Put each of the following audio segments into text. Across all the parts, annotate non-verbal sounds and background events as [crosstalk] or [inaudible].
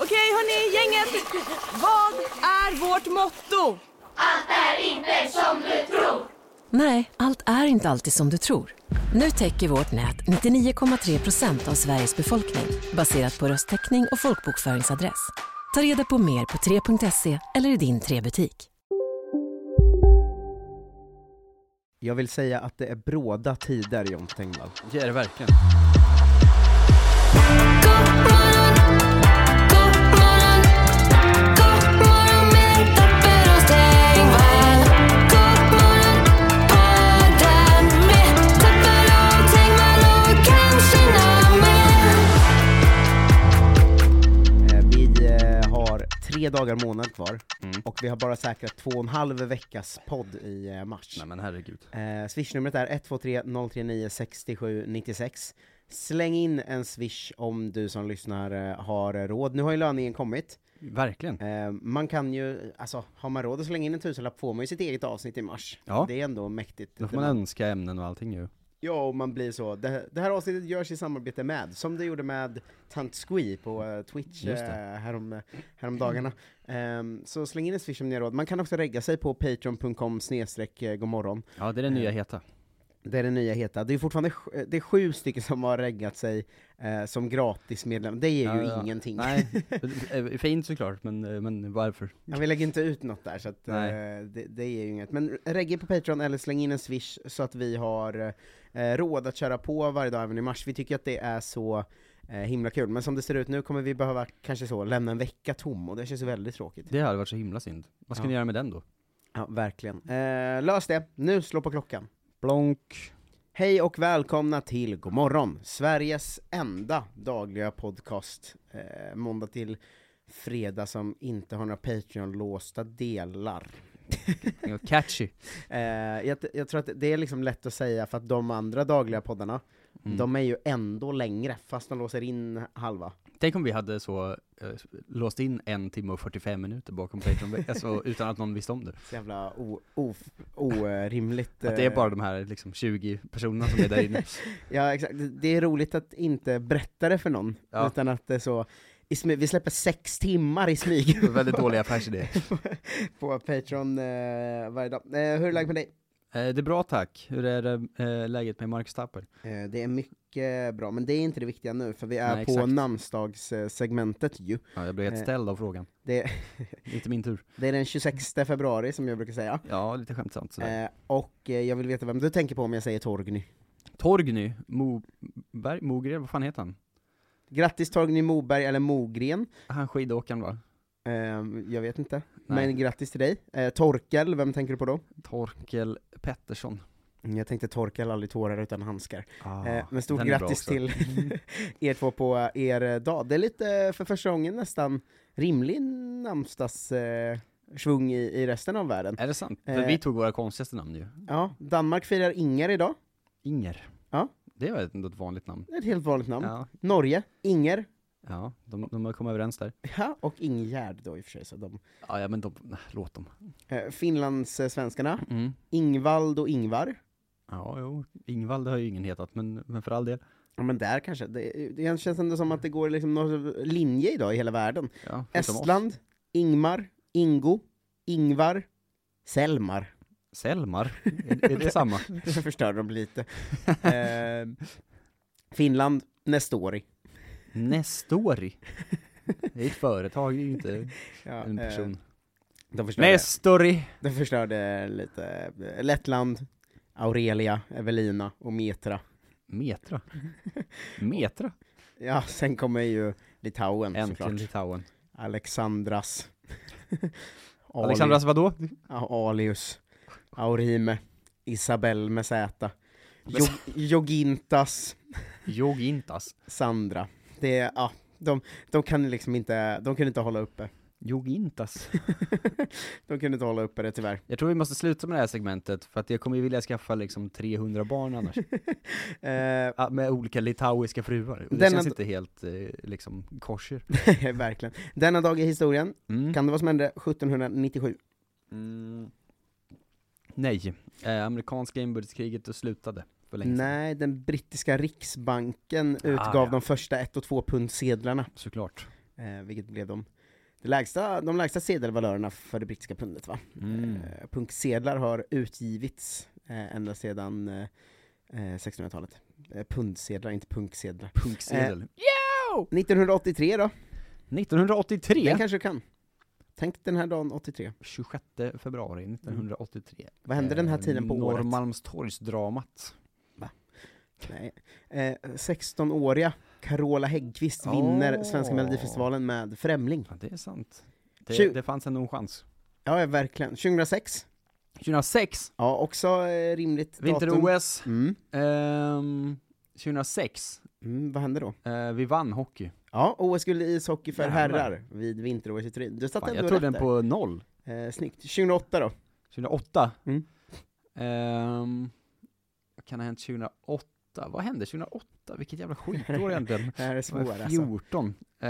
Okej, hörni, gänget. Vad är vårt motto? Nej, allt är inte alltid som du tror. Nu täcker vårt nät 99,3 procent av Sveriges befolkning baserat på röstteckning och folkbokföringsadress. Ta reda på mer på 3.se eller i din 3-butik. Jag vill säga att det är bråda tider, John Tengvall. Det är det verkligen. Eh, Vi eh, har tre dagar och månad kvar, Mm. och vi har bara säkrat två och en halv veckas podd i eh, mars. Nej men herregud. Eh, Swishnumret är 123 039 67 96. Släng in en swish om du som lyssnar eh, har råd. Nu har ju löningen kommit. Verkligen. Eh, man kan ju, alltså har man råd att slänga in en tusenlapp får man ju sitt eget avsnitt i mars. Ja. Det är ändå mäktigt. Då får man önska ämnen och allting ju. Ja, och man blir så. Det, det här avsnittet görs i samarbete med, som det gjorde med Tant Squee på eh, Twitch uh, Just det. härom, häromdagarna. Ehm, så släng in en swish om ni har råd. Man kan också regga sig på patreon.com snedstreck eh, godmorgon. Ja, det är det nya heta. Det är det nya heta. Det är fortfarande sj- eh, det är sju stycken som har reggat sig eh, som gratismedlem. Det ger ju Ja, ja. ingenting. [laughs] Nej, Eh, fint såklart, men, eh, men varför? Ja, vi lägger inte ut något där, så att, eh, Nej. det, det är ju inget. Men regge på Patreon eller släng in en swish så att vi har eh, råd att köra på varje dag även i mars. Vi tycker att det är så eh, himla kul, men som det ser ut nu kommer vi behöva kanske så lämna en vecka tom och det känns ju väldigt tråkigt. Det hade varit så himla synd. Vad ska Ja. ni göra med den då? Ja, verkligen. Eh, lös det, nu slå på klockan. Blonk. Hej och välkomna till Godmorgon, Sveriges enda dagliga podcast, eh, måndag till fredag som inte har några Patreon-låsta delar. Catchy. Eh, jag, t- jag tror att det är liksom lätt att säga för att de andra dagliga poddarna, Mm. de är ju ändå längre, fast de låser in halva. Tänk om vi hade så eh, låst in en timme och 45 minuter bakom Patreon, [laughs] alltså, utan att någon visste om det. Så jävla o- of- orimligt. Att det är eh, bara de här liksom, 20 personerna som är där [laughs] inne. Ja exakt, Det- det är roligt att inte berätta det för någon, Ja. utan att det är så, i smy- vi släpper sex timmar i smyg Det Eh, var väldigt dålig affärsidé. [laughs] på Patreon eh, varje dag. Eh, hur är läget med dig? Eh, det är bra tack. Hur är det, eh, läget med Marcus Tapper? Eh, det är mycket bra, men det är inte det viktiga nu, för vi är Nej, på exakt. namnsdagssegmentet ju. Ja, jag blev helt Eh. ställd av frågan. Det, Inte min tur. det är den 26 februari som jag brukar säga. Ja, lite skämtsamt sådär. Eh, och eh, jag vill veta vem du tänker på om jag säger Torgny. Torgny Moberg, Mogren, vad fan heter han? Grattis Torgny Moberg, eller Mogren, Han skidåkaren va? Ehm, jag vet inte. Nej. Men grattis till dig. Eh, Torkel, vem tänker du på då? Mm, Torkel Pettersson. Jag tänkte Torkel, aldrig tårar utan handskar. Ah, eh, men stort den är bra grattis också. till [laughs] er två på er eh, dag. Det är lite, för första gången nästan, rimlig namnsdagssvung i, i resten av världen. Är det sant? Eh. För vi tog våra konstigaste namn ju. Ja, Danmark firar Inger idag, Inger. Ja. Det var ändå ett vanligt namn. Det är ett helt vanligt namn. Ja, Norge, Inger, ja de, de har kommit överens där. ja, och Ingegärd då i och för sig. Så de, Ja, ja men de, nej, låt dem. eh, Finlandssvenskarna, Mm. Ingvald och Ingvar. Ja, jo. Ingvald har ju ingen hetat, men, men för all del. Ja men där kanske, det, det känns ändå som att det går liksom någon linje idag i hela världen. Ja, förutom oss. Estland, Ingmar, Ingo, Ingvar, Selmar. Selmar. är, är det samma? [laughs] Jag förstörde dem lite. [laughs] eh, Finland, Nestori. Nestori. Det är ett företag, det är ju inte Ja, en eh, person. de, förstörde, Nestori! de förstörde lite. Lettland, Aurelia, Evelina och Metra. [laughs] Metra. Metra. Ja, sen kommer ju Litauen Äntligen såklart. Litauen. Alexandras. [laughs] Ali- Alexandras alltså vadå? Ja, Alius, Aurime, Isabel med Z, Jog- Jogintas, Jogintas. Sandra. Det är, ja, de, de kan liksom inte, de kunde inte hålla uppe. Jogintas. de kunde inte hålla uppe det tyvärr. Jag tror vi måste sluta med det här segmentet, för att jag kommer ju vilja skaffa liksom 300 [laughs] barn annars. Eh, [laughs] Ah, med olika litauiska fruar. Och det Denna känns d- inte helt eh, liksom [laughs] korser. verkligen. Denna dag i historien, Mm. kan det vara som hände 1797? Mm. Nej, eh, amerikanska inbördeskriget det slutade för länge sedan. Ah, Nej, den brittiska riksbanken utgav ja. de första 1 och 2 pundsedlarna, Såklart. eh, vilket blev de, de, lägsta, de lägsta sedelvalörerna för det brittiska pundet va? Mm. Eh, Punksedlar har utgivits eh, ända sedan eh, eh, 1600-talet. Eh, pundsedlar, inte punksedlar. Punksedel. eh, Oh. 1983 då, 1983! den kanske du kan? Tänk den här dagen 83. 26 februari 1983. Vad hände den här Eh, tiden på året? Norrmalmstorgsdramat. Nej. Eh, 16-åriga Carola Häggkvist Åh. vinner Svenska Melodifestivalen med Främling. Ja, det är sant. Det, Tju- det fanns ändå en chans. Ja, ja, verkligen. 2006. 2006, Ja, också eh, rimligt datum. vinter-OS. Mm. Ehm, 2006, Mm, vad hände då? eh, vi vann hockey. Ja, OS-guld i ishockey för Jävlar. herrar vid vinter-OS i Turin. Du satte Fan, ändå jag tog rätt den där. på noll. Eh, snyggt. 2008 då? 2008. Mm. Ehm, vad kan ha hänt 2008? Vad hände 2008? Vilket jävla [laughs] skitår egentligen. Det här är Jag svår är alltså. 14. Eh,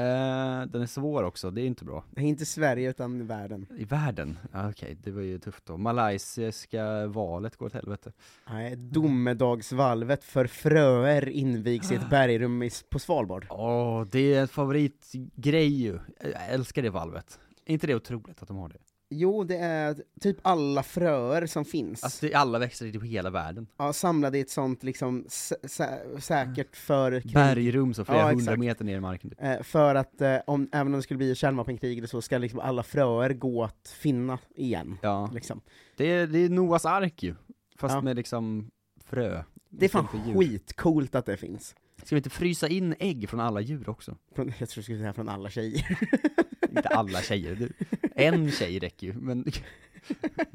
den är svår också, det är inte bra. Det är inte Sverige utan världen. I världen? Ah, Okej, det var ju tufft då. Malaysiska valet går åt helvete. Nej, domedagsvalvet för fröer invigs i ett bergrum i- på Svalbard. Åh, det är en favoritgrej ju. Jag älskar det valvet. Är inte det otroligt att de har det? Jo, det är typ alla fröer som finns. Alltså det är alla växter i typ hela världen. ja, samlade i ett sånt liksom sä- sä- säkert för krig. Bergrum så flera Ja, hundra exakt. meter ner i marken. typ. Eh, För att, eh, om, även om det skulle bli kärnvapenkrig eller så, ska liksom alla fröer gå att finna igen. Ja, Liksom. det är, det är Noas ark ju. Fast Ja. med liksom frö. Det är fan Istället för djur. skitcoolt att det finns. Ska vi inte frysa in ägg från alla djur också? Från, [laughs] jag tror du skulle säga från alla tjejer. [laughs] Inte alla tjejer, det- en tjej räcker ju, men [laughs]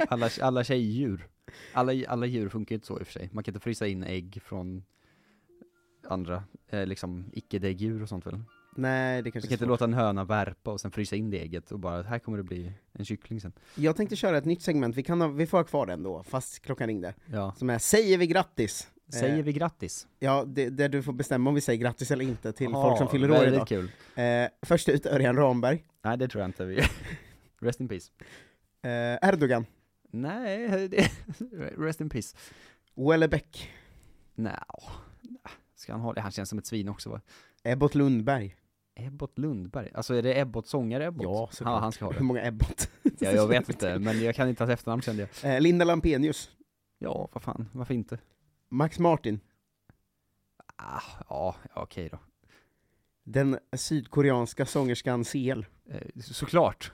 alla, alla tjejdjur. Alla, alla djur funkar ju inte så i och för sig. Man kan inte frysa in ägg från andra, eh, liksom icke-däggdjur och sånt väl? Man Nej, det kan kanske är inte svårt. låta en höna värpa och sen frysa in det ägget och bara, här kommer det bli en kyckling sen. Jag tänkte köra ett nytt segment, vi, kan ha, vi får ha kvar den då, fast klockan ringde. Ja. Som är Säger vi grattis? Säger Eh, vi grattis? Ja, det, där du får bestämma om vi säger grattis eller inte till Ja, folk som fyller år väldigt idag. kul. Eh, först ut Örjan Ramberg, Nej, det tror jag inte vi... [laughs] Rest in peace. eh, Erdogan, Nej, det... [laughs] rest in peace. Wellebeck, Nej, ska han ha det? Han känns som ett svin också va? Ebbot Lundberg. Ebbot Lundberg? Alltså är det Ebbot sångare Ebbot? Ja, såklart. Ja, han ska [laughs] ha Hur det. många Ebbot? Ja, jag vet inte, men jag kan inte hans efternamn kände jag. Eh, Linda Lampenius, Ja, vad fan, varför inte? Max Martin, Ah, ja, ja, okej då. den sydkoreanska sångerskan CL, Eh, såklart.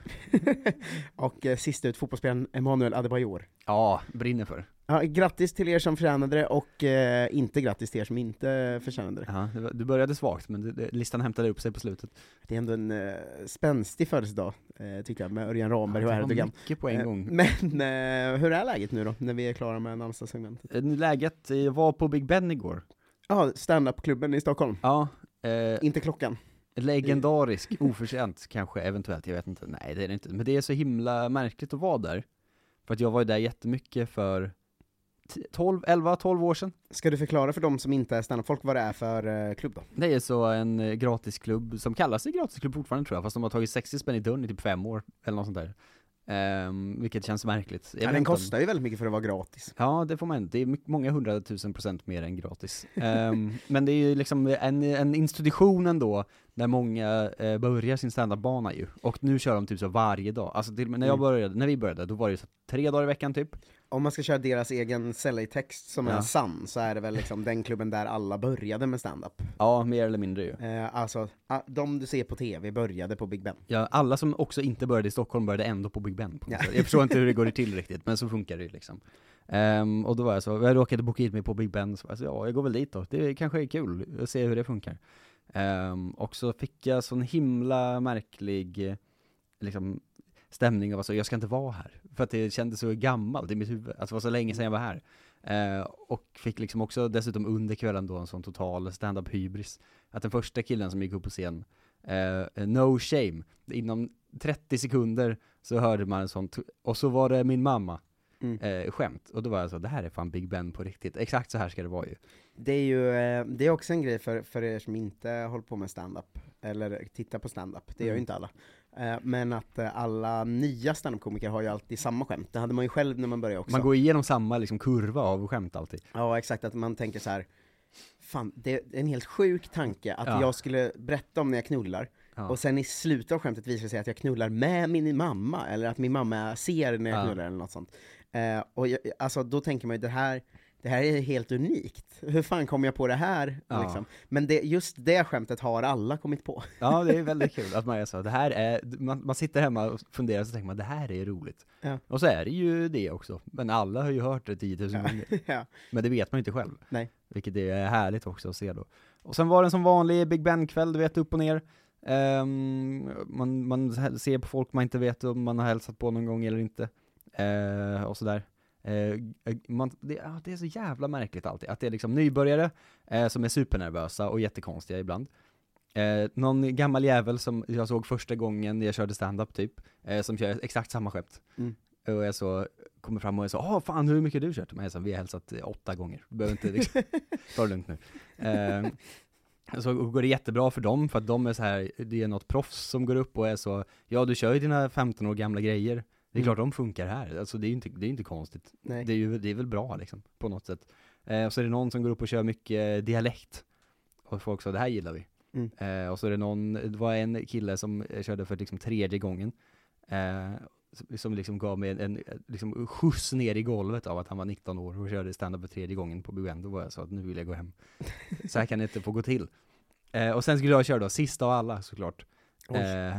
[laughs] och eh, sist ut fotbollsspelaren Emanuel Adebayor. Ja, brinner för. Ja, grattis till er som förtjänade det och eh, inte grattis till er som inte förtjänade det. Ja, det var- du började svagt, men det, det, listan hämtade upp sig på slutet. Det är ändå en eh, spänstig födelsedag, eh, tycker jag, med Örjan Ramberg och det var Erdogan. mycket på en Eh, gång. Men eh, hur är läget nu då, när vi är klara med namnsdagssegmentet? Eh, Läget, eh, jag var på Big Ben igår. Ja, standupklubben i Stockholm. Ja, eh, Inte klockan. [laughs] Legendarisk, oförtjänt kanske, eventuellt, jag vet inte. Nej, det är det inte. Men det är så himla märkligt att vara där. För att jag var ju där jättemycket för 12, 11, 12 år sedan. Ska du förklara för de som inte är standupfolk vad det är för eh, klubb då? Det är så en eh, gratisklubb, som kallas en gratisklubb fortfarande tror jag, fast de har tagit 60 spänn i dörren i typ fem år, eller något sånt där. Ehm, vilket känns märkligt. Jag Ja, vet den inte om- kostar ju väldigt mycket för att vara gratis. Ja, det får man inte. Det är mycket- många hundratusen procent mer än gratis. Ehm, [laughs] men det är ju liksom en, en institution ändå, där många eh, börjar sin standardbana ju. Och nu kör de typ så varje dag. Alltså till, och med när jag Mm. började, när vi började, då var det ju så tre dagar i veckan typ. Om man ska köra deras egen säljtext som Ja. är sann, så är det väl liksom den klubben där alla började med standup. Ja, mer eller mindre ju. Eh, alltså, ah, de du ser på TV började på Big Ben. Ja, alla som också inte började i Stockholm började ändå på Big Ben. På något sätt. Jag förstår inte hur det går till riktigt, men så funkar det ju liksom. Ehm, och då var jag så, jag råkade boka hit mig på Big Ben, så var jag så, ja, jag går väl dit då. Det kanske är kul, att se hur det funkar. Ehm, och så fick jag sån himla märklig eh, liksom, stämning av att så, jag ska inte vara här. För att det kändes så gammalt i mitt huvud, att det var så länge sedan jag var här. Eh, och fick liksom också dessutom under kvällen då en sån total stand-up hybris. Att den första killen som gick upp på scen eh, No Shame. Inom 30 sekunder så hörde man en sån, t- och så var det min mamma. Mm. Eh, skämt. Och då var jag så, det här är fan Big Ben på riktigt. Exakt så här ska det vara ju. Det är ju, eh, det är också en grej för, för er som inte håller på med stand-up eller tittar på stand-up, det gör ju Mm. inte alla. Eh, Men att eh, alla nya standup-komiker har ju alltid samma skämt, det hade man ju själv när man började också. Man går igenom samma liksom, kurva av skämt alltid. Ja exakt, att man tänker så här. Fan, det är en helt sjuk tanke att Ja. jag skulle berätta om när jag knullar, Ja. och sen i slutet av skämtet visar det sig att jag knullar med min mamma, eller att min mamma ser när jag Ja. knullar eller något sånt. Eh, och jag, alltså, då tänker man ju det här, det här är helt unikt. [laughs] Hur fan kom jag på det här? Ja. Liksom. Men det, just det skämtet har alla kommit på. [laughs] Ja, det är väldigt kul att man är så. Det här är, man, man sitter hemma och funderar så tänker man det här är roligt. Ja. Och så är det ju det också. Men alla har ju hört det 10 000 gånger. ja. Men det vet man ju inte själv. Nej. Vilket är härligt också att se då. Och sen var den som vanlig Big Ben-kväll, du vet, upp och ner. Ehm, man, man ser på folk man inte vet om man har hälsat på någon gång eller inte. Eh, och sådär. Eh, man, det, ja, det är så jävla märkligt alltid, att det är liksom nybörjare eh, som är supernervösa och jättekonstiga ibland. Eh, någon gammal jävel som jag såg första gången jag körde stand-up typ, eh, som kör exakt samma skämt. Mm. Och jag så kommer fram och jag sa ah fan hur mycket har du kört? Men jag sa, vi har hälsat eh, åtta gånger, du behöver inte liksom, ta det lugnt nu. Eh, så går det jättebra för dem, för att de är så här, det är något proffs som går upp och är så, ja du kör ju dina 15 år gamla grejer, det är Mm. klart de funkar här, alltså det är ju inte, det är ju inte konstigt. Nej. Det är, ju, det är väl bra liksom, på något sätt. Eh, och så är det någon som går upp och kör mycket dialekt. Och folk sa, det här gillar vi. Mm. Eh, och så är det någon, det var en kille som eh, körde för liksom tredje gången. Eh, som- som liksom gav mig en, en liksom skjuts ner i golvet av att han var 19 år och körde stand-up för tredje gången på BUN. Då var jag så att nu vill jag gå hem. Så här kan det inte få gå till. Eh, och sen skulle jag köra då, sista av alla såklart. Oj. Eh,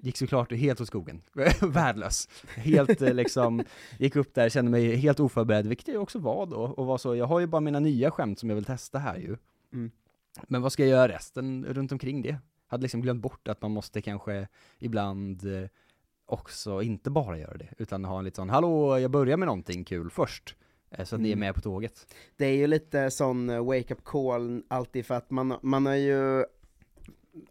gick såklart helt åt skogen. [laughs] Värdelös. Helt eh, liksom, gick upp där, kände mig helt oförberedd, vilket jag också var då. Och var så, jag har ju bara mina nya skämt som jag vill testa här ju. Mm. Men vad ska jag göra resten runt omkring det? Hade liksom glömt bort att man måste kanske ibland eh, också inte bara göra det, utan ha en lite sån, hallå, jag börjar med någonting kul först. eh, Så att ni är Mm. med på tåget. Det är ju lite sån eh, wake-up call alltid för att man, man har ju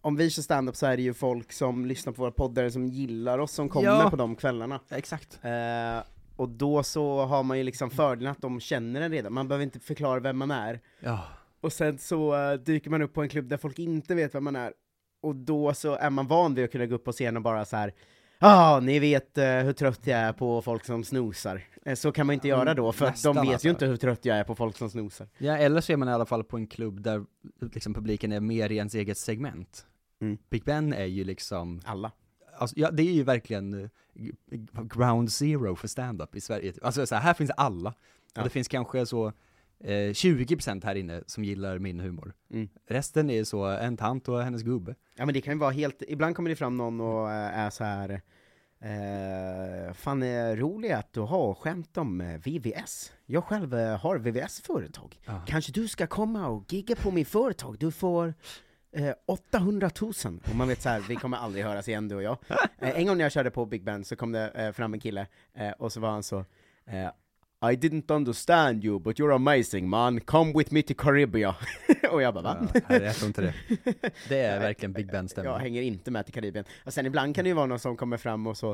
om vi kör stand-up så är det ju folk som lyssnar på våra poddar som gillar oss som kommer Ja. på de kvällarna. Exakt. Eh, och då så har man ju liksom fördelen att de känner en redan, man behöver inte förklara vem man är. Ja. Och sen så eh, dyker man upp på en klubb där folk inte vet vem man är, och då så är man van vid att kunna gå upp på scen och bara så här. Ja, ah, ni vet eh, hur trött jag är på folk som snosar. Eh, Så kan man inte Mm, göra då, för att de nästan vet alltså. ju inte hur trött jag är på folk som snosar. Ja, eller så är man i alla fall på en klubb där liksom, publiken är mer i ens eget segment. Mm. Big Ben är ju liksom, Alla. alltså, ja, det är ju verkligen eh, g- ground zero för stand-up i Sverige. Alltså så här, här finns alla, Ja. och det finns kanske så eh, 20% här inne som gillar min humor. Mm. Resten är så en tant och hennes gubbe. Ja men det kan ju vara helt, ibland kommer det fram någon och eh, är så här. Eh, fan är rolig att ha skämt om eh, VVS. Jag själv eh, har VVS-företag. Ja. Kanske du ska komma och gigga på min företag, du får eh, 800 000. Och man vet så här, vi kommer aldrig höras igen du och jag. Eh, en gång när jag körde på Big Band så kom det eh, fram en kille, eh, och så var han så eh, I didn't understand you, but you're amazing man, come with me to Caribbean. [laughs] och jag bara va? Ja, nej, jag tror [laughs] inte det. Det är verkligen Big Ben Jag stämning. hänger inte med till Karibien. Och sen ibland kan det ju vara någon som kommer fram och så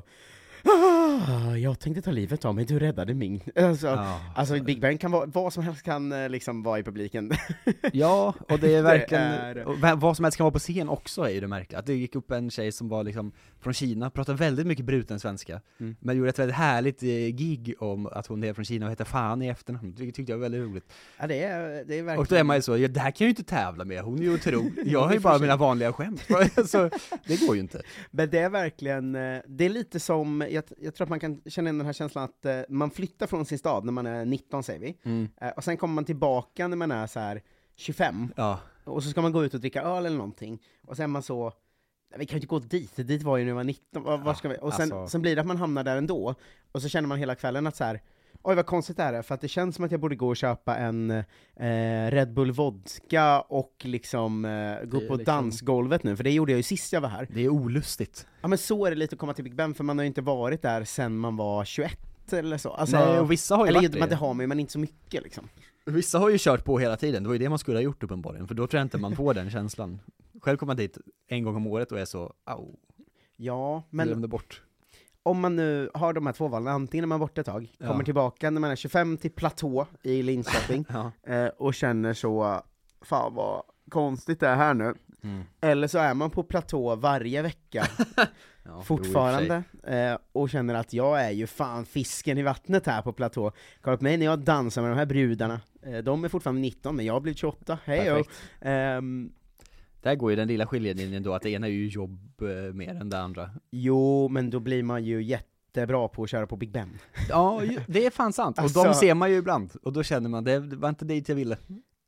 ah, jag tänkte ta livet av mig, du räddade min. Alltså, Ja. alltså Big Bang kan vara, vad som helst kan eh, liksom vara i publiken. [laughs] Ja, och det är verkligen, är- och va- vad som helst kan vara på scen också är ju det märkliga. Att det gick upp en tjej som var liksom från Kina, pratade väldigt mycket bruten svenska, Mm. men gjorde ett väldigt härligt eh, gig om att hon är från Kina och heter Fan i efternamn, vilket tyckte jag var väldigt roligt. ja, det är, det är verkligen... Och då är man ju så, ja, det här kan jag ju inte tävla med, hon är [laughs] ju otrolig, jag har Det ju är bara för sig. mina vanliga skämt. [laughs] så det går ju inte. Men det är verkligen, eh, det är lite som, jag, jag tror att man kan känna igen den här känslan att eh, man flyttar från sin stad när man är 19 säger vi, Mm. Eh, och sen kommer man tillbaka när man är så här 25, Ja, och så ska man gå ut och dricka öl eller någonting, och sen är man så, "Nej, vi kan ju inte gå dit, dit var ju när jag var 19, var, var ska vi? Och sen, alltså. sen blir det att man hamnar där ändå, och så känner man hela kvällen att så här. Oj vad konstigt det här är, för att det känns som att jag borde gå och köpa en eh, Red Bull Vodka och liksom eh, gå är upp på liksom- dansgolvet nu, för det gjorde jag ju sist jag var här. det är olustigt. Ja men så är det lite att komma till Big Ben, för man har ju inte varit där sen man var 21 eller så. Alltså, Nej, och vissa har ju eller varit ju, men det det. har man ju, men inte så mycket liksom. Vissa har ju kört på hela tiden, det var ju det man skulle ha gjort uppenbarligen, för då tror jag inte man får den känslan. Själv kommer man dit en gång om året och är så, au, Ja, men glömde bort. om man nu har de här två valen, antingen är man borta ett tag, Ja. kommer tillbaka när man är 25 till Platå i Linköping, [laughs] Ja. eh, och känner så, fan vad konstigt det är här nu. Mm. Eller så är man på Platå varje vecka [laughs] Ja, jo, i och för sig. fortfarande, eh, och känner att jag är ju fan fisken i vattnet här på platå. Kolla på mig när jag dansar med de här brudarna. Eh, de är fortfarande 19, men jag har blivit 28. Hej då! Perfekt. Ehm, Där går ju den lilla skiljelinjen då, att det ena är ju jobb eh, mer än det andra. jo, men då blir man ju jättebra på att köra på Big Ben. Ja, ju- det är fan sant. Och de Alltså- ser man ju ibland, och då känner man, det var inte dit jag ville.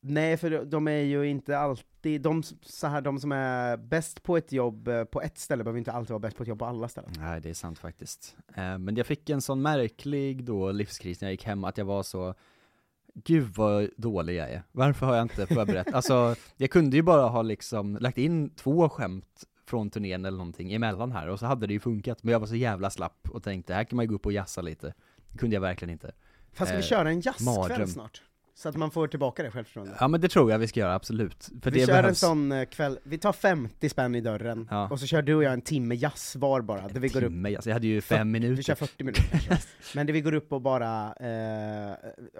Nej, för de är ju inte alltid, de, s- så här, de som är bäst på ett jobb eh, på ett ställe behöver inte alltid vara bäst på ett jobb på alla ställen. Nej, det är sant faktiskt. Eh, Men jag fick en sån märklig då livskris när jag gick hem, att jag var så Gud vad dålig jag är. Varför har jag inte förberett? Alltså, jag kunde ju bara ha liksom lagt in två skämt från turnén eller någonting emellan här och så hade det ju funkat. Men jag var så jävla slapp och tänkte, här kan man ju gå upp och jassa lite. Det kunde jag verkligen inte. Fast ska vi Eh, köra en jazzkväll mardröm. snart? Så att man får tillbaka det självförtroendet. Ja men det tror jag vi ska göra, absolut. För vi det kör behövs. en sån eh, kväll, vi tar 50 spänn i dörren, Ja. och så kör du och jag en timme jazz var bara, där vi går upp, Timme, alltså, jag hade ju fem minuter. vi kör 40 minuter kanske. Men där vi går upp och bara eh,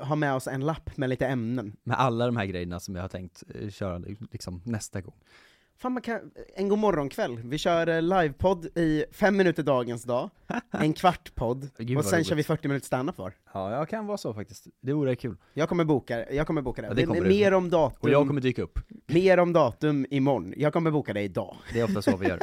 har med oss en lapp med lite ämnen. [laughs] med alla de här grejerna som jag har tänkt eh, köra liksom nästa gång. Fan man kan, en god morgonkväll. vi kör eh, livepodd i fem minuter dagens [laughs] dag, en kvart podd, Gud, och vad sen roligt. kör vi 40 minuter standup var. Ja, jag kan vara så faktiskt. Det vore kul. Jag kommer boka, jag kommer boka det. Ja, det kommer du. mer om datum, Och jag kommer dyka upp. mer om datum imorgon. Jag kommer boka det idag. Det är ofta så vi gör.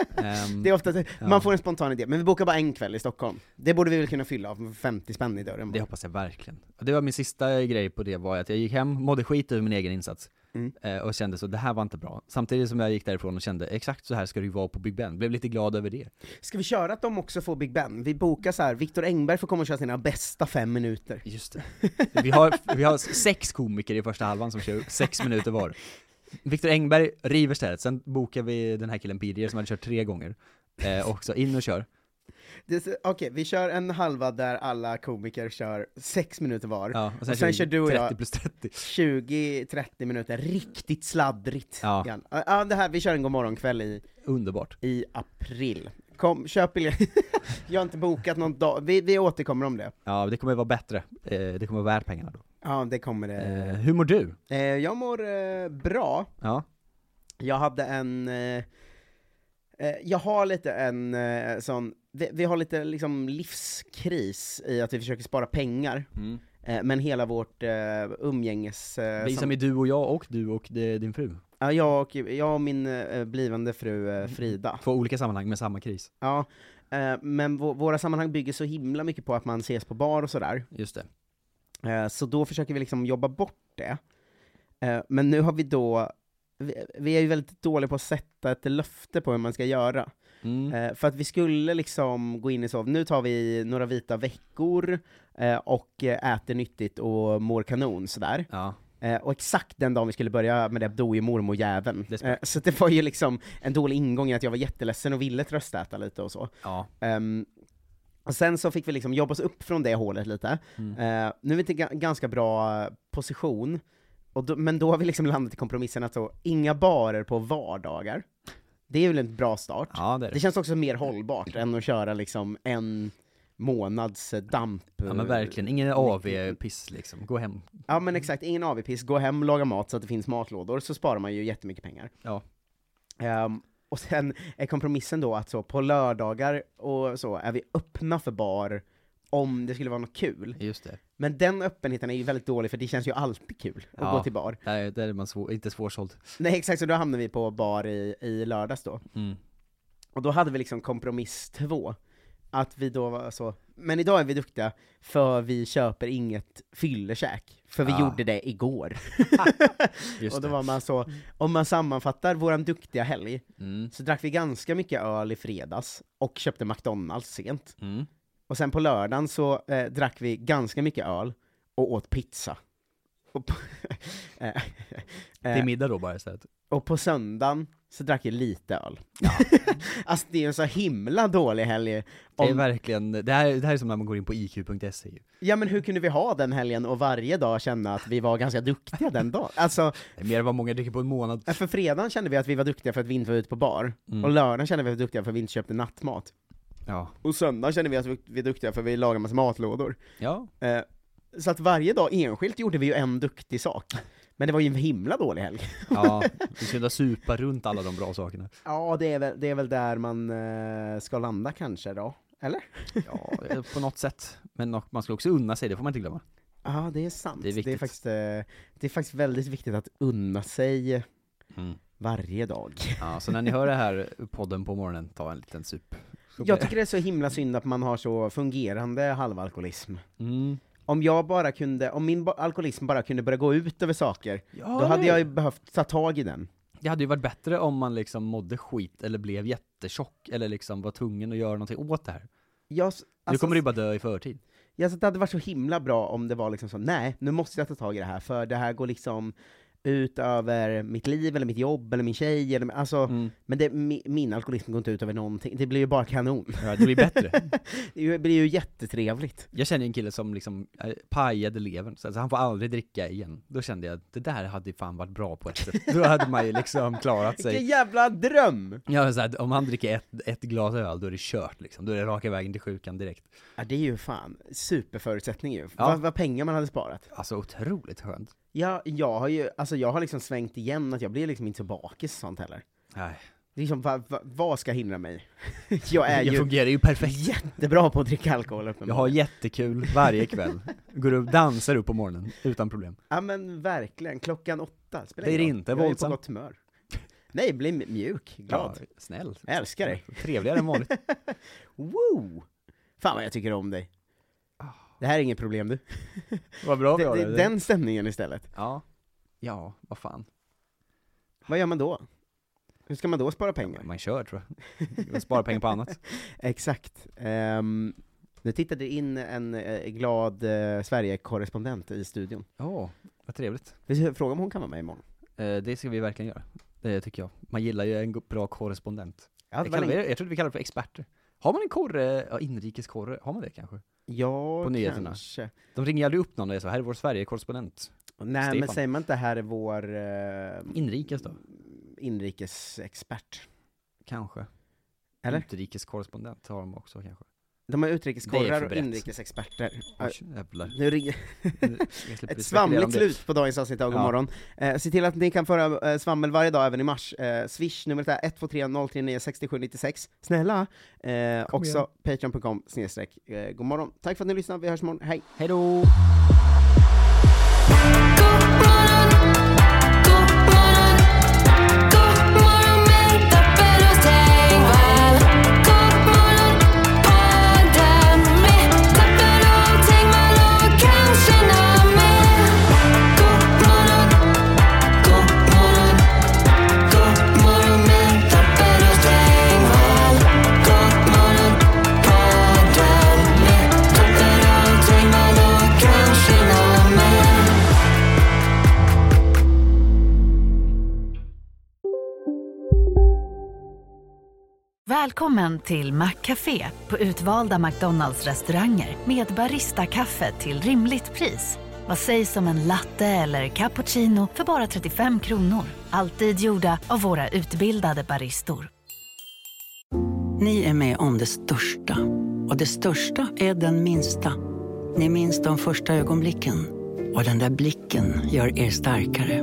[laughs] Ehm, Det är ofta, Ja. man får en spontan idé, men vi bokar bara en kväll i Stockholm. Det borde vi väl kunna fylla av 50 spänn i dörren. det hoppas jag verkligen. Och det var min sista grej på det var att jag gick hem, mådde skit över min egen insats. Mm. Eh, Och kände så, det här var inte bra. Samtidigt som jag gick därifrån och kände, exakt så här ska det ju vara på Big Ben. Blev lite glad över det. Ska vi köra att de också får Big Ben? Vi bokar så här, Viktor Engberg får komma och köra sina bästa fem minuter. Just det. Vi har, vi har sex komiker i första halvan som kör sex minuter var. Viktor Engberg river stället, sen bokar vi den här killen Birger som hade kört tre gånger. Eh, också in och kör. Det är så- Okej, vi kör en halva där alla komiker kör sex minuter var. Ja, och sen, kör du och 30 jag plus 30. 20-30 minuter riktigt sladdrigt. Ja. igen. Ja. ja, det här, vi kör en god morgonkväll i, Underbart. i april. Kom, köp biljetter. [laughs] jag har inte bokat någon dag, vi, vi återkommer om det. Ja, det kommer vara bättre. Eh, det kommer vara värt pengarna då. Ja, det kommer det. Eh, hur mår du? Eh, jag mår eh, bra. Ja. Jag hade en, eh, eh, jag har lite en eh, sån, vi, vi har lite liksom livskris i att vi försöker spara pengar, Mm. eh, men hela vårt eh, umgänges... Eh, Vi som är du och jag och du och det- din fru. ja, jag, och, jag och min eh, blivande fru eh, Frida. Två olika sammanhang med samma kris. Ja, eh, men vå- våra sammanhang bygger så himla mycket på att man ses på bar och sådär, Just det. eh, så då försöker vi liksom jobba bort det. Eh, men nu har vi då, vi, vi är ju väldigt dåliga på att sätta ett löfte på hur man ska göra. Mm. Eh, för att vi skulle liksom gå in i så, nu tar vi några vita veckor eh, och eh, äter nyttigt och mår kanon sådär. Ja, Eh, och exakt den dagen vi skulle börja med det dog ju mormorjäveln. Det är smart. Eh, så det var ju liksom en dålig ingång i att jag var jätteledsen och ville tröstäta lite och så. ja. Ehm, och sen så fick vi liksom jobba oss upp från det hålet lite. Mm. Eh, nu är vi till ga- ganska bra eh, position, och då, men då har vi liksom landat i kompromissen att så, inga barer på vardagar. Det är väl en bra start. ja det är Det det. känns också mer hållbart än att köra liksom en månads eh, damp. Ja men verkligen, ingen AV-piss liksom. Gå hem. Ja men exakt, ingen AV-piss, gå hem, laga mat så att det finns matlådor, så sparar man ju jättemycket pengar. Ja. Ehm, och sen är kompromissen då att så på lördagar och så är vi öppna för bar om det skulle vara något kul. Just det. Men den öppenheten är ju väldigt dålig för det känns ju alltid kul att Ja. gå till bar. Där, är- där är man svår, inte svårsåld. Nej exakt, så då hamnade vi på bar i, i lördags då. Mm. Och då hade vi liksom kompromiss två. Att vi då var så, men idag är vi duktiga för vi köper inget fyllekäk. För vi Ah. gjorde det igår. Just och då det. var man så, om man sammanfattar våran duktiga helg, Mm. så drack vi ganska mycket öl i fredags, och köpte McDonalds sent. Mm. Och sen på lördagen så eh, drack vi ganska mycket öl, och åt pizza. Och på, [laughs] eh, Till middag då bara istället. och på söndagen så drack vi lite öl. [laughs] alltså det är en så himla dålig helg. Det är Om, verkligen, det här, det här är som när man går in på iq.se E ju. ja men hur kunde vi ha den helgen och varje dag känna att vi var ganska duktiga den dagen? Alltså, Det är mer än vad många dricker på en månad. för fredagen kände vi att vi var duktiga för att vi inte var ute på bar, Mm. och lördagen kände vi att vi var duktiga för att vi inte köpte nattmat. Ja. Och söndagen kände vi att vi var duktiga för att vi lagade massa matlådor. Ja. Eh, så att varje dag enskilt gjorde vi ju en duktig sak. Men det var ju en himla dålig helg. Ja. Vi skulle supa runt alla de bra sakerna. Ja, det är väl, det är väl där man eh, ska landa kanske då, eller? Ja, på något sätt. Men nog- man ska också unna sig, det får man inte glömma. Ja, det är sant. Det är viktigt. faktiskt, eh, det är faktiskt väldigt viktigt att unna sig Mm. varje dag. Ja, så när ni hör det här podden på morgonen, ta en liten sup. Jag tycker det är så himla synd att man har så fungerande halvalkoholism. Mm. Om jag bara kunde, om min ba- alkoholism bara kunde börja gå ut över saker, Ja, då hade jag ju behövt ta tag i den. Det hade ju varit bättre om man liksom mådde skit eller blev jättetjock eller liksom var tvungen att göra någonting åt det här. Jag, s- nu alltså, kommer du bara dö i förtid. jag, så det hade varit så himla bra om det var liksom så, nej, nu måste jag ta tag i det här, för det här går liksom ut över mitt liv, eller mitt jobb, eller min tjej, eller, alltså, Mm. men det, mi, min alkoholism går inte ut över någonting, det blir ju bara kanon. Ja, det blir bättre. Det är ju- blir ju jättetrevligt. Jag känner ju en kille som liksom eh, pajade levern, så alltså han får aldrig dricka igen. Då kände jag att det där hade fan varit bra på ett sätt. Då hade man ju liksom klarat sig. Vilken jävla dröm! Ja, så här, om han dricker ett, ett glas öl, då är det kört liksom. Då är det raka vägen till sjukan direkt. Ja, det är ju fan superförutsättning ju. Ja. Vad vad pengar man hade sparat. Alltså otroligt skönt. Ja, jag har ju, alltså jag har liksom svängt igen att jag blir liksom inte så bakis och sånt heller. Nej, Det är liksom, va, va, vad ska hindra mig? [laughs] jag är jag ju fungerar ju perfekt. jättebra på att dricka alkohol Jag har uppenbarligen. jättekul varje kväll. Går upp, dansar upp på morgonen, utan problem. Ja men verkligen, klockan åtta. Spelar Blir ingen roll. inte jag är ju på våldsam. gott humör. Nej, bli mjuk, glad. Ja, snäll. Jag älskar dig. Trevligare än vanligt. [laughs] Woo! Fan vad jag tycker om dig. Det här är inget problem du. Vad bra Det, det, den stämningen istället. Ja. Ja, vad fan. Vad gör man då? Hur ska man då spara pengar? Man kör tror [laughs] jag. Spara pengar på annat. [laughs] Exakt. Ehm, nu tittade in en eh, glad eh, Sverige-korrespondent i studion. Åh, vad trevligt. Vi ska fråga om hon kan vara med imorgon. Eh, det ska vi verkligen göra. Det tycker jag. Man gillar ju en go- bra korrespondent. Ja, Jag, kallar, jag, jag tror vi kallar det för experter. Har man en korre, ja, inrikeskorre, har man det kanske? ja på nyheterna. kanske. De ringer aldrig upp någon och är så, här är vår Sverige-korrespondent. Nej, men Stefan. säger man inte här är vår eh, Inrikes då? inrikesexpert? Kanske. Eller? Utrikeskorrespondent har de också kanske. De har Det är för utrikeskorrar och brett. inrikesexperter. Oj, jävlar. Nu ringer Jag slipper [laughs] spekulera ett om svamligt det. slut på dagens avsnitt av Ja. Godmorgon. Eh, se till att ni kan föra eh, svammel varje dag, även i mars. Eh, Swish, numret är 123 039 6796. Snälla! Eh, också patreon.com snedstreck eh, godmorgon. Tack för att ni lyssnade, vi hörs imorgon. Hej! Hej då! Välkommen till Maccafé på utvalda McDonalds restauranger med Baristakaffe till rimligt pris. Vad sägs om en latte eller cappuccino för bara 35 kronor? Alltid gjorda av våra utbildade baristor. Ni är med om det största. Och det största är den minsta. Ni minns de första ögonblicken. Och den där blicken gör er starkare.